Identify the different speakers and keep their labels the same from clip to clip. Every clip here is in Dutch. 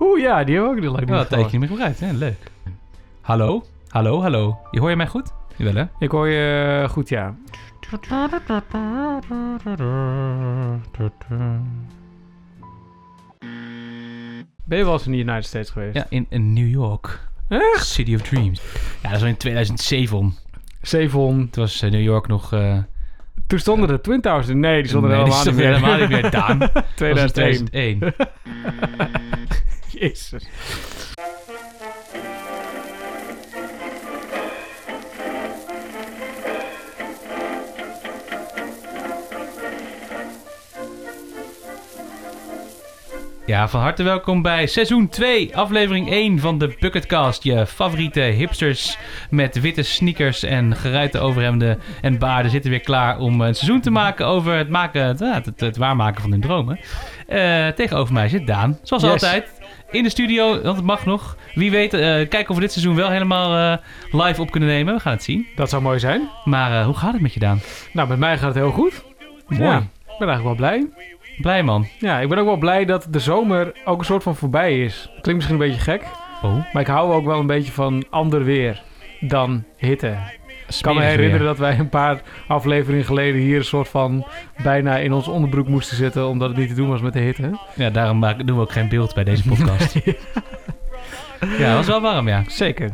Speaker 1: Oeh ja, die hebben we ook nog lang
Speaker 2: Wel een
Speaker 1: niet
Speaker 2: tijdje
Speaker 1: gehoord.
Speaker 2: niet meer gebruikt, hè? Leuk. Hallo? Hallo, hallo. Je hoor je mij goed? Jawel, hè?
Speaker 1: Ik hoor je eh, goed, ja. Ben je wel eens in de United States geweest?
Speaker 2: Ja, in, in New York. City of Dreams. Ja, dat was in 2007.
Speaker 1: Zevon.
Speaker 2: Toen was eh, New York nog... eh
Speaker 1: Toen stonden de Twin Towers er. Nee, die stonden er
Speaker 2: nee,
Speaker 1: helemaal
Speaker 2: die
Speaker 1: niet meer.
Speaker 2: stond helemaal niet meer, Daan. Dat was in
Speaker 1: 2001.
Speaker 2: 2001.
Speaker 1: Jezus.
Speaker 2: Ja, van harte welkom bij seizoen 2, aflevering 1 van de Bucketcast. Je favoriete hipsters met witte sneakers en geruite overhemden en baarden zitten weer klaar om een seizoen te maken over het, maken, het, het, het waarmaken van hun dromen. Eh, tegenover mij zit Daan, zoals
Speaker 1: Yes.
Speaker 2: altijd. In de studio, want het mag nog. Wie weet, eh, kijken of we dit seizoen wel helemaal eh, live op kunnen nemen. We gaan het zien.
Speaker 1: Dat zou mooi zijn.
Speaker 2: Maar eh, hoe gaat het met je, Daan?
Speaker 1: Nou, met mij gaat het heel goed.
Speaker 2: Mooi.
Speaker 1: Ja, ik ben eigenlijk wel blij.
Speaker 2: Blij man.
Speaker 1: Ja, ik ben ook wel blij dat de zomer ook een soort van voorbij is. Klinkt misschien een beetje gek,
Speaker 2: Oh,
Speaker 1: maar ik hou ook wel een beetje van ander weer dan hitte. Ik kan me
Speaker 2: smerig
Speaker 1: herinneren
Speaker 2: weer.
Speaker 1: dat wij een paar afleveringen geleden hier een soort van bijna in ons onderbroek moesten zitten omdat het niet te doen was met de hitte.
Speaker 2: Ja, daarom maken- doen we ook geen beeld bij deze podcast. ja, het was wel warm, ja.
Speaker 1: Zeker.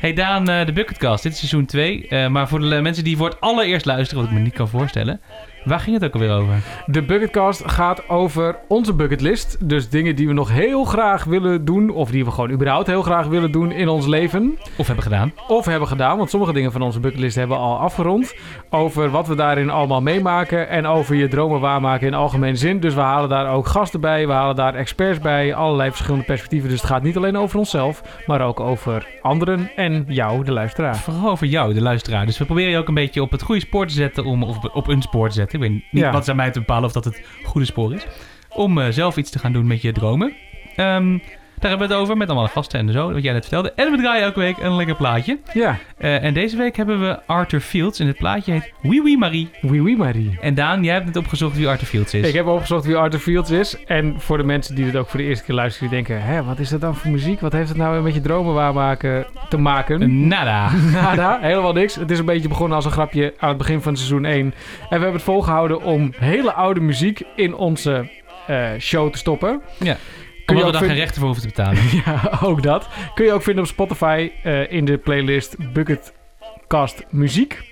Speaker 2: Hey Daan, eh, de Bucketcast, dit is seizoen 2. maar voor de le- mensen die voor het allereerst luisteren, wat ik me niet kan voorstellen, waar ging het ook alweer over?
Speaker 1: De bucketcast gaat over onze bucketlist. Dus dingen die we nog heel graag willen doen. Of die we gewoon überhaupt heel graag willen doen in ons leven.
Speaker 2: Of hebben gedaan?
Speaker 1: Of hebben gedaan. Want sommige dingen van onze bucketlist hebben we al afgerond. Over wat we daarin allemaal meemaken. En over je dromen waarmaken in algemeen zin. Dus we halen daar ook gasten bij. We halen daar experts bij. Allerlei verschillende perspectieven. Dus het gaat niet alleen over onszelf. Maar ook over anderen. En jou, de luisteraar.
Speaker 2: Vooral over jou, de luisteraar. Dus we proberen je ook een beetje op het goede spoor te zetten, om, of op- op een spoor te zetten. Ik weet niet
Speaker 1: Ja.
Speaker 2: wat is aan mij te bepalen of dat het goede spoor is. Om eh, zelf iets te gaan doen met je dromen. Ehm, daar hebben we het over met allemaal gasten en zo, wat jij net vertelde. En we draaien elke week een lekker plaatje.
Speaker 1: Ja,
Speaker 2: Eh, en deze week hebben we Arthur Fields en het plaatje heet Wee Wee Marie.
Speaker 1: oui oui Marie.
Speaker 2: En Daan, jij hebt net opgezocht wie Arthur Fields is.
Speaker 1: Ik heb opgezocht wie Arthur Fields is. En voor de mensen die dit ook voor de eerste keer luisteren, die denken: hè, wat is dat dan voor muziek? Wat heeft het nou weer met je dromen waarmaken te maken?
Speaker 2: Nada.
Speaker 1: Nada, helemaal niks. Het is een beetje begonnen als een grapje aan het begin van seizoen 1. En we hebben het volgehouden om hele oude muziek in onze eh, show te stoppen.
Speaker 2: Ja.
Speaker 1: Kun je
Speaker 2: Omdat we
Speaker 1: ook vinden-
Speaker 2: daar geen rechten voor hoeven te betalen.
Speaker 1: Ja, ook dat. Kun je ook vinden op Spotify eh, in de playlist Bucketcast Muziek.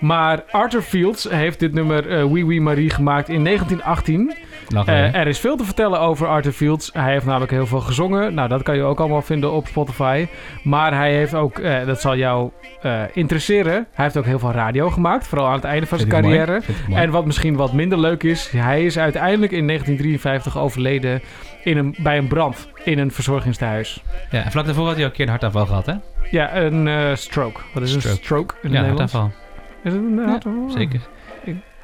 Speaker 1: Maar Arthur Fields heeft dit nummer eh Wee Wee Marie gemaakt in 1918.
Speaker 2: Lachen.
Speaker 1: Eh,
Speaker 2: hè?
Speaker 1: er is veel te vertellen over Arthur Fields. Hij heeft namelijk heel veel gezongen. Nou, dat kan je ook allemaal vinden op Spotify. Maar hij heeft ook, eh, dat zal jou eh, interesseren. Hij heeft ook heel veel radio gemaakt, vooral aan het einde van
Speaker 2: Vind
Speaker 1: zijn
Speaker 2: ik mooi.
Speaker 1: carrière.
Speaker 2: Vind ik mooi.
Speaker 1: En wat misschien wat minder leuk is, hij is uiteindelijk in 1953 overleden in een, bij een brand in een verzorgingstehuis.
Speaker 2: ja, en vlak daarvoor had hij ook een keer een hartaanval gehad, hè?
Speaker 1: Ja, een eh, stroke. Wat is een
Speaker 2: Stroke.
Speaker 1: stroke in
Speaker 2: ja,
Speaker 1: het Nederlands?
Speaker 2: hartaanval.
Speaker 1: Is het een
Speaker 2: Ja,
Speaker 1: hartaanval?
Speaker 2: Zeker.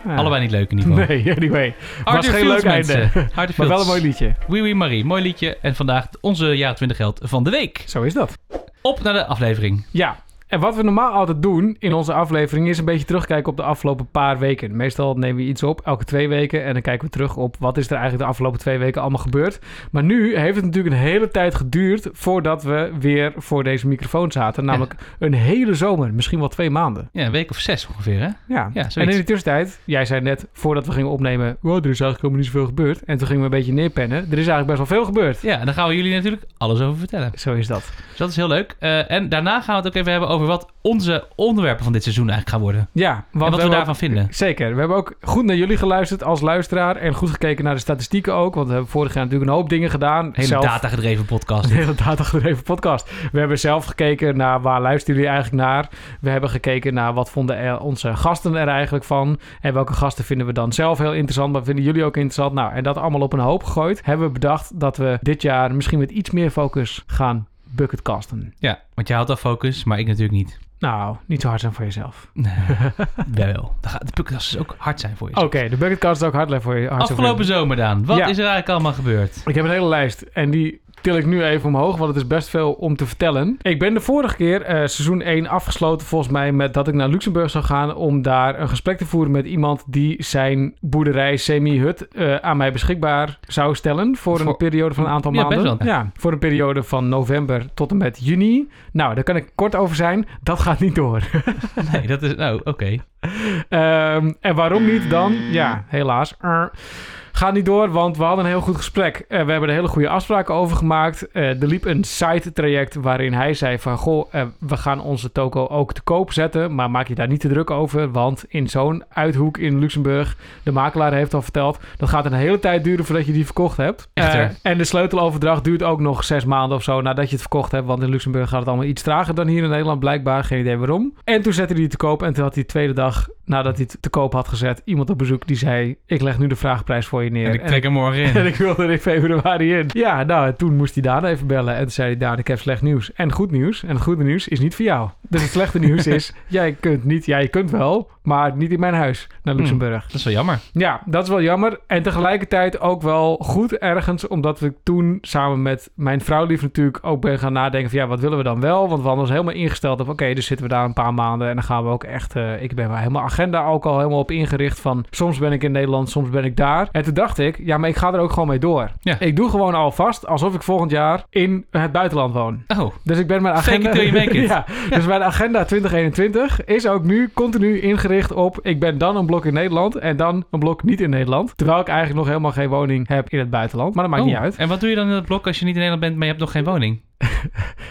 Speaker 1: Ja.
Speaker 2: Allebei niet leuk in ieder geval.
Speaker 1: Nee, anyway. was geen
Speaker 2: Fields,
Speaker 1: leuk einde.
Speaker 2: mensen. Arthur
Speaker 1: Maar wel
Speaker 2: Fields.
Speaker 1: een mooi liedje.
Speaker 2: Wee Wee Marie, mooi liedje. En vandaag onze jaren 20 geld van de week.
Speaker 1: Zo is dat.
Speaker 2: Op naar de aflevering.
Speaker 1: Ja, en wat we normaal altijd doen in onze aflevering is een beetje terugkijken op de afgelopen paar weken. Meestal nemen we iets op, elke twee weken, en dan kijken we terug op wat is er eigenlijk de afgelopen twee weken allemaal gebeurd. Maar nu heeft het natuurlijk een hele tijd geduurd voordat we weer voor deze microfoon zaten. Namelijk een hele zomer, misschien wel twee maanden.
Speaker 2: Ja, een week of zes ongeveer, hè?
Speaker 1: Ja,
Speaker 2: zoiets.
Speaker 1: en in de tussentijd, jij zei net voordat we gingen opnemen, wow, er is eigenlijk helemaal niet zoveel gebeurd. En toen gingen we een beetje neerpennen, er is eigenlijk best wel veel gebeurd.
Speaker 2: Ja, en daar gaan we jullie natuurlijk alles over vertellen.
Speaker 1: Zo is dat.
Speaker 2: Dus dat is heel leuk. Eh, en daarna gaan we het ook even hebben over wat onze onderwerpen van dit seizoen eigenlijk gaan worden.
Speaker 1: Ja,
Speaker 2: en wat we,
Speaker 1: hebben ook-
Speaker 2: daarvan vinden.
Speaker 1: Zeker. We hebben ook goed naar jullie geluisterd als luisteraar. En goed gekeken naar de statistieken ook. Want we hebben vorig jaar natuurlijk een hoop dingen gedaan.
Speaker 2: Hele
Speaker 1: Zelf-
Speaker 2: datagedreven podcast.
Speaker 1: Een hele datagedreven podcast. We hebben zelf gekeken naar waar luisteren jullie eigenlijk naar. We hebben gekeken naar wat vonden er- onze gasten er eigenlijk van. En welke gasten vinden we dan zelf heel interessant. Maar vinden jullie ook interessant? Nou, en dat allemaal op een hoop gegooid. Hebben we bedacht dat we dit jaar misschien met iets meer focus gaan bucketcasten.
Speaker 2: Ja, want jij houdt al focus, maar ik natuurlijk niet.
Speaker 1: Nou, niet zo hard zijn voor jezelf.
Speaker 2: Nee, wel. Dan gaat de podcast dus ook hard zijn voor je.
Speaker 1: Oké, de bucketcast is ook hard Oh, voor je. hard voor je.
Speaker 2: Afgelopen zomer, Daan. Wat
Speaker 1: Ja.
Speaker 2: is er eigenlijk allemaal gebeurd?
Speaker 1: Ik heb een hele lijst en die til ik nu even omhoog, want het is best veel om te vertellen. Ik ben de vorige keer, eh, seizoen 1, afgesloten volgens mij met dat ik naar Luxemburg zou gaan om daar een gesprek te voeren met iemand die zijn boerderij semi-hut eh, aan mij beschikbaar zou stellen voor, een
Speaker 2: Voor-
Speaker 1: periode van een aantal
Speaker 2: Ja, best
Speaker 1: maanden.
Speaker 2: wel.
Speaker 1: Ja, voor een periode van november tot en met juni. Nou, daar kan ik kort over zijn. Dat gaat niet door.
Speaker 2: Nee, dat is... Nou, oké.
Speaker 1: Ehm, en waarom niet dan? Ja, helaas. Er. Gaat niet door, want we hadden een heel goed gesprek. Eh, we hebben er hele goede afspraken over gemaakt. Eh, er liep een side-traject waarin hij zei van... Goh, eh, we gaan onze toko ook te koop zetten. Maar maak je daar niet te druk over. Want in zo'n uithoek in Luxemburg... de makelaar heeft al verteld... dat gaat een hele tijd duren voordat je die verkocht hebt.
Speaker 2: Echter.
Speaker 1: Eh, en de sleuteloverdracht duurt ook nog zes maanden of zo... nadat je het verkocht hebt. Want in Luxemburg gaat het allemaal iets trager dan hier in Nederland. Blijkbaar, geen idee waarom. En toen zette hij die te koop. En toen had hij de tweede dag... nadat hij het te koop had gezet... iemand op bezoek die zei... ik leg nu de vraagprijs voor je neer.
Speaker 2: En ik
Speaker 1: En
Speaker 2: trek hem morgen in.
Speaker 1: en ik wilde er in februari in. Ja, nou, en toen moest hij Daan even bellen. En toen zei hij, Daan, ik heb slecht nieuws. En goed nieuws. En het goede nieuws is niet voor jou. Dus het slechte nieuws is, jij kunt niet. Ja, je kunt wel, maar niet in mijn huis naar
Speaker 2: Hmm.
Speaker 1: Luxemburg.
Speaker 2: Dat is wel jammer.
Speaker 1: Ja, dat is wel jammer. En tegelijkertijd ook wel goed ergens, omdat we toen samen met mijn vrouw lief natuurlijk ook ben gaan nadenken van ja, wat willen we dan wel? Want we hadden ons helemaal ingesteld op oké, dus zitten we daar een paar maanden en dan gaan we ook echt, eh, ik ben mijn helemaal agenda ook al helemaal op ingericht van soms ben ik in Nederland, soms ben ik daar. En toen dacht ik, ja, maar ik ga er ook gewoon mee door.
Speaker 2: Ja.
Speaker 1: Ik doe gewoon alvast alsof ik volgend jaar in het buitenland woon.
Speaker 2: Oh,
Speaker 1: Dus ik ben mijn
Speaker 2: Fake
Speaker 1: agenda...
Speaker 2: it till you make it.
Speaker 1: ja, dus mijn agenda 2021 is ook nu continu ingericht op... ik ben dan een blok in Nederland en dan een blok niet in Nederland. Terwijl ik eigenlijk nog helemaal geen woning heb in het buitenland. Maar dat maakt
Speaker 2: Oh,
Speaker 1: niet uit.
Speaker 2: En wat doe je dan in dat blok als je niet in Nederland bent, maar je hebt nog geen woning?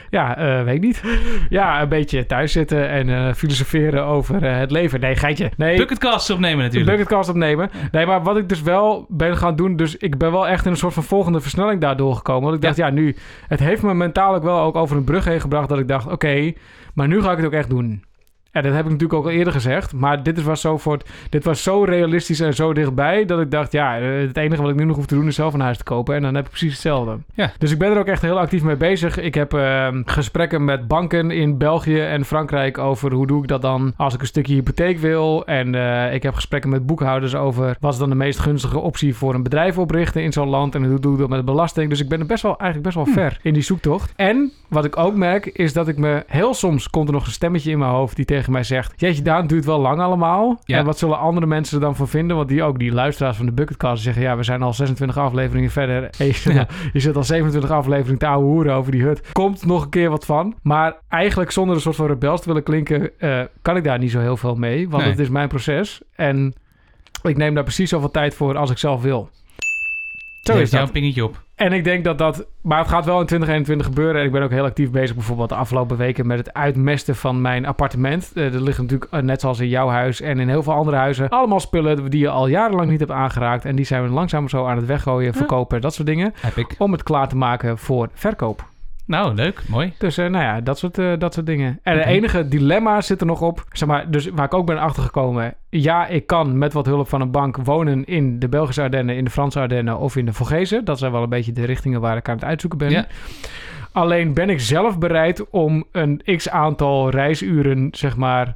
Speaker 1: Ja, eh, weet ik niet. Ja, een beetje thuis zitten en eh, filosoferen over eh, het leven. Nee, geitje. Nee,
Speaker 2: Bucketcasts opnemen
Speaker 1: de
Speaker 2: natuurlijk.
Speaker 1: bucketcast opnemen. Nee, maar wat ik dus wel ben gaan doen... dus ik ben wel echt in een soort van volgende versnelling daardoor gekomen. Want ik dacht, ja, nu... het heeft me mentaal ook wel ook over een brug heen gebracht... dat ik dacht, oké, maar nu ga ik het ook echt doen. En dat heb ik natuurlijk ook al eerder gezegd. Maar dit is- was zo, voor het- dit was zo realistisch en zo dichtbij... dat ik dacht, ja, eh, het enige wat ik nu nog hoef te doen... is zelf een huis te kopen. En dan heb ik precies hetzelfde.
Speaker 2: Ja.
Speaker 1: Dus ik ben er ook echt heel actief mee bezig. Ik heb eh, gesprekken met banken in België en Frankrijk... over hoe doe ik dat dan als ik een stukje hypotheek wil. En eh, ik heb gesprekken met boekhouders over... wat is dan de meest gunstige optie voor een bedrijf oprichten in zo'n land... en hoe doe ik dat met belasting. Dus ik ben er best wel, eigenlijk
Speaker 2: Hm.
Speaker 1: best wel ver in die zoektocht. En wat ik ook merk is dat ik me... heel soms komt er nog een stemmetje in mijn hoofd die tegen mij zegt... jeetje Daan, het duurt wel lang allemaal.
Speaker 2: Ja.
Speaker 1: En wat zullen andere mensen er dan van vinden? Want die ook, die luisteraars van de Bucketcast zeggen... ja, we zijn al 26 afleveringen verder. En je zit-
Speaker 2: Ja.
Speaker 1: je zit al 27 afleveringen te ouwe hoeren over die hut. Komt nog een keer wat van. Maar eigenlijk zonder een soort van rebels te willen klinken... eh, kan ik daar niet zo heel veel mee. Want
Speaker 2: Nee.
Speaker 1: het is mijn proces. En ik neem daar precies zoveel tijd voor als ik zelf wil. Zo
Speaker 2: Je
Speaker 1: is
Speaker 2: hebt jou
Speaker 1: dat.
Speaker 2: een pingetje op.
Speaker 1: En ik denk dat dat... Maar het gaat wel in 2021 gebeuren. En ik ben ook heel actief bezig bijvoorbeeld de afgelopen weken... met het uitmesten van mijn appartement. Eh, er liggen natuurlijk, eh, net zoals in jouw huis en in heel veel andere huizen... allemaal spullen die je al jarenlang niet hebt aangeraakt. En die zijn we langzaam zo aan het weggooien, verkopen, dat soort dingen.
Speaker 2: Heb ik.
Speaker 1: Om het klaar te maken voor verkoop.
Speaker 2: Nou, leuk. Mooi.
Speaker 1: Dus eh, nou ja, dat soort, eh, dat soort dingen. En het
Speaker 2: Oké.
Speaker 1: enige dilemma zit er nog op. Zeg maar, dus waar ik ook ben achtergekomen. Ja, ik kan met wat hulp van een bank wonen in de Belgische Ardennen, in de Franse Ardennen of in de Vogezen. Dat zijn wel een beetje de richtingen waar ik aan het uitzoeken ben.
Speaker 2: Ja.
Speaker 1: Alleen ben ik zelf bereid om een x aantal reisuren, zeg maar,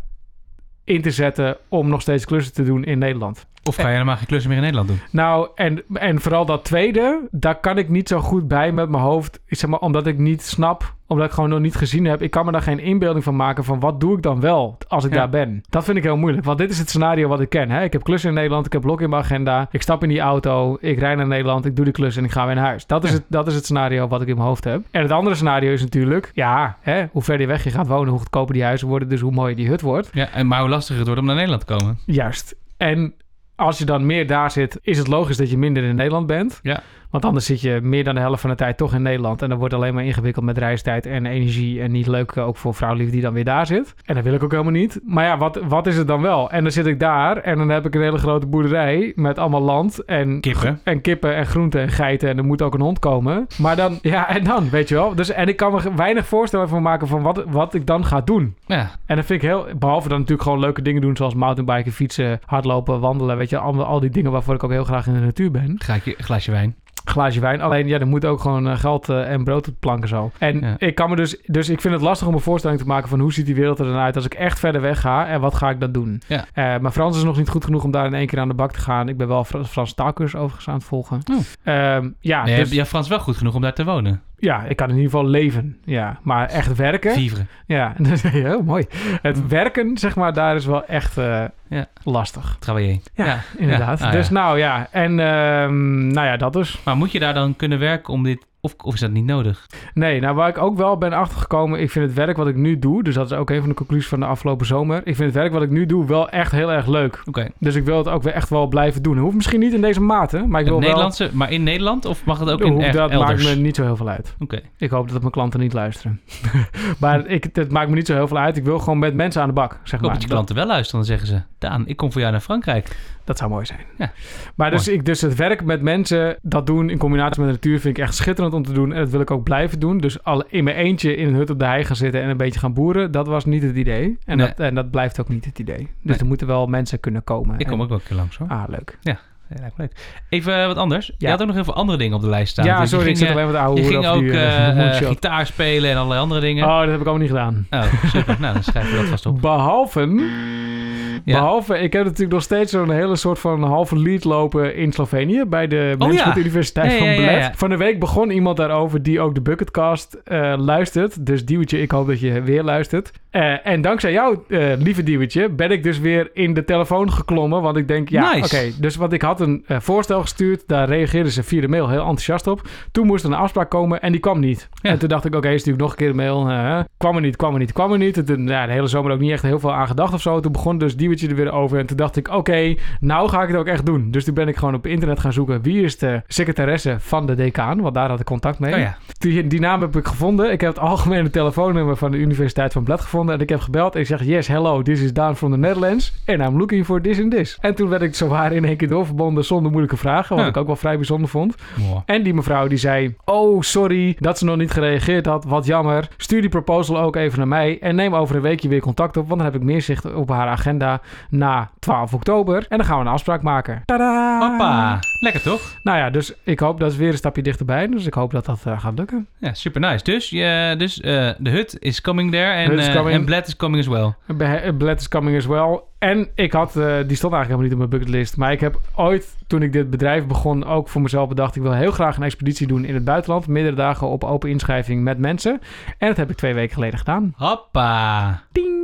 Speaker 1: in te zetten om nog steeds klussen te doen in Nederland.
Speaker 2: Of ga je helemaal geen klussen meer in Nederland doen?
Speaker 1: Nou, en, en vooral dat tweede, daar kan ik niet zo goed bij met mijn hoofd. Ik zeg maar, omdat ik niet snap, omdat ik gewoon nog niet gezien heb. Ik kan me daar geen inbeelding van maken van wat doe ik dan wel als ik
Speaker 2: Ja.
Speaker 1: daar ben. Dat vind ik heel moeilijk, want dit is het scenario wat ik ken. Hè? Ik heb klussen in Nederland, ik heb blok in mijn agenda. Ik stap in die auto, ik rijd naar Nederland, ik doe de klus en ik ga weer naar huis. Dat is,
Speaker 2: Ja.
Speaker 1: het, dat is het scenario wat ik in mijn hoofd heb. En het andere scenario is natuurlijk, ja, hè, hoe verder weg je gaat wonen, hoe goedkoper die huizen worden, dus hoe mooier die hut wordt.
Speaker 2: Ja, en maar hoe lastiger het wordt om naar Nederland te komen.
Speaker 1: Juist. En als je dan meer daar zit, is het logisch dat je minder in Nederland bent.
Speaker 2: Ja.
Speaker 1: Want anders zit je meer dan de helft van de tijd toch in Nederland. En dan wordt alleen maar ingewikkeld met reistijd en energie. En niet leuk eh, ook voor vrouwlief die dan weer daar zit. En dat wil ik ook helemaal niet. Maar ja, wat, wat is het dan wel? En dan zit ik daar en dan heb ik een hele grote boerderij met allemaal land. En
Speaker 2: Kippen.
Speaker 1: en kippen en groenten en geiten. En er moet ook een hond komen. Maar dan, ja, en dan, weet je wel. Dus, en ik kan me weinig voorstellen van maken van wat, wat ik dan ga doen.
Speaker 2: Ja,
Speaker 1: En dat vind ik heel... Behalve dan natuurlijk gewoon leuke dingen doen... zoals mountainbiken, fietsen, hardlopen, wandelen. Weet je, al, al die dingen waarvoor ik ook heel graag in de natuur ben.
Speaker 2: ga ik je, glaasje wijn.
Speaker 1: Glaasje wijn. Alleen, ja, er moet ook gewoon eh, geld eh, en brood op planken zo. En
Speaker 2: Ja.
Speaker 1: ik kan me dus... Dus ik vind het lastig om een voorstelling te maken van... hoe ziet die wereld er dan uit als ik echt verder weg ga? En wat ga ik dan doen?
Speaker 2: Ja.
Speaker 1: Eh, mijn Frans is nog niet goed genoeg om daar in één keer aan de bak te gaan. Ik ben wel Frans, Frans taalkurs overigens aan het volgen.
Speaker 2: Oh.
Speaker 1: Ehm, ja,
Speaker 2: Nee,
Speaker 1: dus-
Speaker 2: heb je Frans wel goed genoeg om daar te wonen?
Speaker 1: Ja, ik kan in ieder geval leven. Ja, maar echt werken.
Speaker 2: Vivre.
Speaker 1: Ja, dat is heel mooi. Het werken, zeg maar, daar is wel echt eh,
Speaker 2: Mm. Ja.
Speaker 1: lastig.
Speaker 2: Travailler.
Speaker 1: Ja, inderdaad.
Speaker 2: Ah, ja.
Speaker 1: Dus nou ja, en ehm, nou ja, dat dus.
Speaker 2: Maar moet je daar dan kunnen werken om dit... Of, of is dat niet nodig?
Speaker 1: Nee, nou waar ik ook wel ben achtergekomen, ik vind het werk wat ik nu doe, dus dat is ook een van de conclusies van de afgelopen zomer. Ik vind het werk wat ik nu doe wel echt heel erg leuk.
Speaker 2: Oké.
Speaker 1: Dus ik wil het ook weer echt wel blijven doen. Hoeft misschien niet in deze mate, maar ik wil
Speaker 2: Het
Speaker 1: wel...
Speaker 2: Nederlandse, maar in Nederland? Of mag het ook in
Speaker 1: Hoe-
Speaker 2: echt
Speaker 1: dat
Speaker 2: elders?
Speaker 1: maakt me niet zo heel veel uit.
Speaker 2: Oké.
Speaker 1: Ik hoop dat mijn klanten niet luisteren. maar ik, het maakt me niet zo heel veel uit. Ik wil gewoon met mensen aan de bak, zeg
Speaker 2: Ik hoop
Speaker 1: maar.
Speaker 2: dat je klanten wel luisteren. Dan zeggen ze... Daan, ik kom voor jou naar Frankrijk.
Speaker 1: Dat, dat zou mooi zijn.
Speaker 2: Ja.
Speaker 1: Maar dus, ik, dus het werk met mensen, dat doen in combinatie met de natuur... vind ik echt schitterend om te doen. En dat wil ik ook blijven doen. Dus al in mijn eentje in een hut op de hei gaan zitten... en een beetje gaan boeren, dat was niet het idee. En,
Speaker 2: Nee.
Speaker 1: dat, en dat blijft ook niet het idee. Dus
Speaker 2: Nee.
Speaker 1: er moeten wel mensen kunnen komen.
Speaker 2: Ik kom
Speaker 1: En-
Speaker 2: ook wel een keer langs hoor.
Speaker 1: Ah, leuk.
Speaker 2: Ja, lijkt me leuk. Even eh, wat anders. Je
Speaker 1: Ja.
Speaker 2: had ook nog heel veel andere dingen op de lijst staan.
Speaker 1: ja,
Speaker 2: Dus je
Speaker 1: sorry, ik
Speaker 2: ging,
Speaker 1: zit alleen met de
Speaker 2: eh,
Speaker 1: oude
Speaker 2: Je
Speaker 1: hoeren
Speaker 2: ging
Speaker 1: over
Speaker 2: ook
Speaker 1: die,
Speaker 2: eh,
Speaker 1: eh,
Speaker 2: eh,
Speaker 1: moonshot.
Speaker 2: gitaar spelen en allerlei andere dingen.
Speaker 1: Oh, dat heb ik allemaal niet gedaan.
Speaker 2: Oh, super. nou, dan schrijven we dat vast op.
Speaker 1: Behalve, hm?
Speaker 2: Ja.
Speaker 1: behalve, ik heb natuurlijk nog steeds zo'n hele soort van halve lead lopen in Slovenië bij de
Speaker 2: Oh,
Speaker 1: Menschelijke
Speaker 2: ja.
Speaker 1: Universiteit
Speaker 2: Ja,
Speaker 1: van
Speaker 2: ja, ja,
Speaker 1: Bled.
Speaker 2: ja.
Speaker 1: Van de week begon iemand daarover die ook de Bucketcast eh, luistert. Dus Dieuwtje, ik hoop dat je weer luistert. Eh, en dankzij jou, eh, lieve Dieuwtje, ben ik dus weer in de telefoon geklommen. Want ik denk, ja,
Speaker 2: Nice.
Speaker 1: oké. dus wat ik had een eh, voorstel gestuurd, daar reageerden ze via de mail heel enthousiast op. Toen moest er een afspraak komen en die kwam niet.
Speaker 2: Ja.
Speaker 1: En toen dacht ik, oké, stuur ik nog een keer een mail. Eh, kwam er niet, kwam er niet, kwam er niet. En toen, ja, de hele zomer ook niet echt heel veel aan gedacht of zo. Toen begon dus Diewetje er weer over. En toen dacht ik, oké, nou ga ik het ook echt doen. Dus toen ben ik gewoon op internet gaan zoeken. Wie is de secretaresse van de decaan? Want daar had ik contact mee.
Speaker 2: Oh ja.
Speaker 1: Die, die naam heb ik gevonden. Ik heb het algemene telefoonnummer van de Universiteit van Bled gevonden. En ik heb gebeld en ik zeg, yes, hello, this is Daan from the Netherlands. And I'm looking for this and this. En toen werd ik zowaar in één keer doorverbonden zonder moeilijke vragen. Wat
Speaker 2: Ja.
Speaker 1: ik ook wel vrij bijzonder vond.
Speaker 2: Mooi.
Speaker 1: En die mevrouw die zei: Oh, sorry dat ze nog niet gereageerd had. Wat jammer. Stuur die proposal ook even naar mij. En neem over een weekje weer contact op. Want dan heb ik meer zicht op haar agenda na 12 oktober. En dan gaan we een afspraak maken. Tada!
Speaker 2: Papa. Lekker toch?
Speaker 1: Nou ja, dus ik hoop dat is weer een stapje dichterbij. Dus ik hoop dat dat eh, gaat lukken.
Speaker 2: Ja, super nice. Dus, je, dus eh, de hut is coming there. En,
Speaker 1: Hut is
Speaker 2: eh,
Speaker 1: coming.
Speaker 2: en Bled is coming as well.
Speaker 1: Be- Bled is coming as well. En ik had, eh, die stond eigenlijk helemaal niet op mijn bucketlist. Maar ik heb ooit, toen ik dit bedrijf begon, ook voor mezelf bedacht: ik wil heel graag een expeditie doen in het buitenland. Meerdere dagen op open inschrijving met mensen. En dat heb ik twee weken geleden gedaan.
Speaker 2: Hoppa.
Speaker 1: Ding!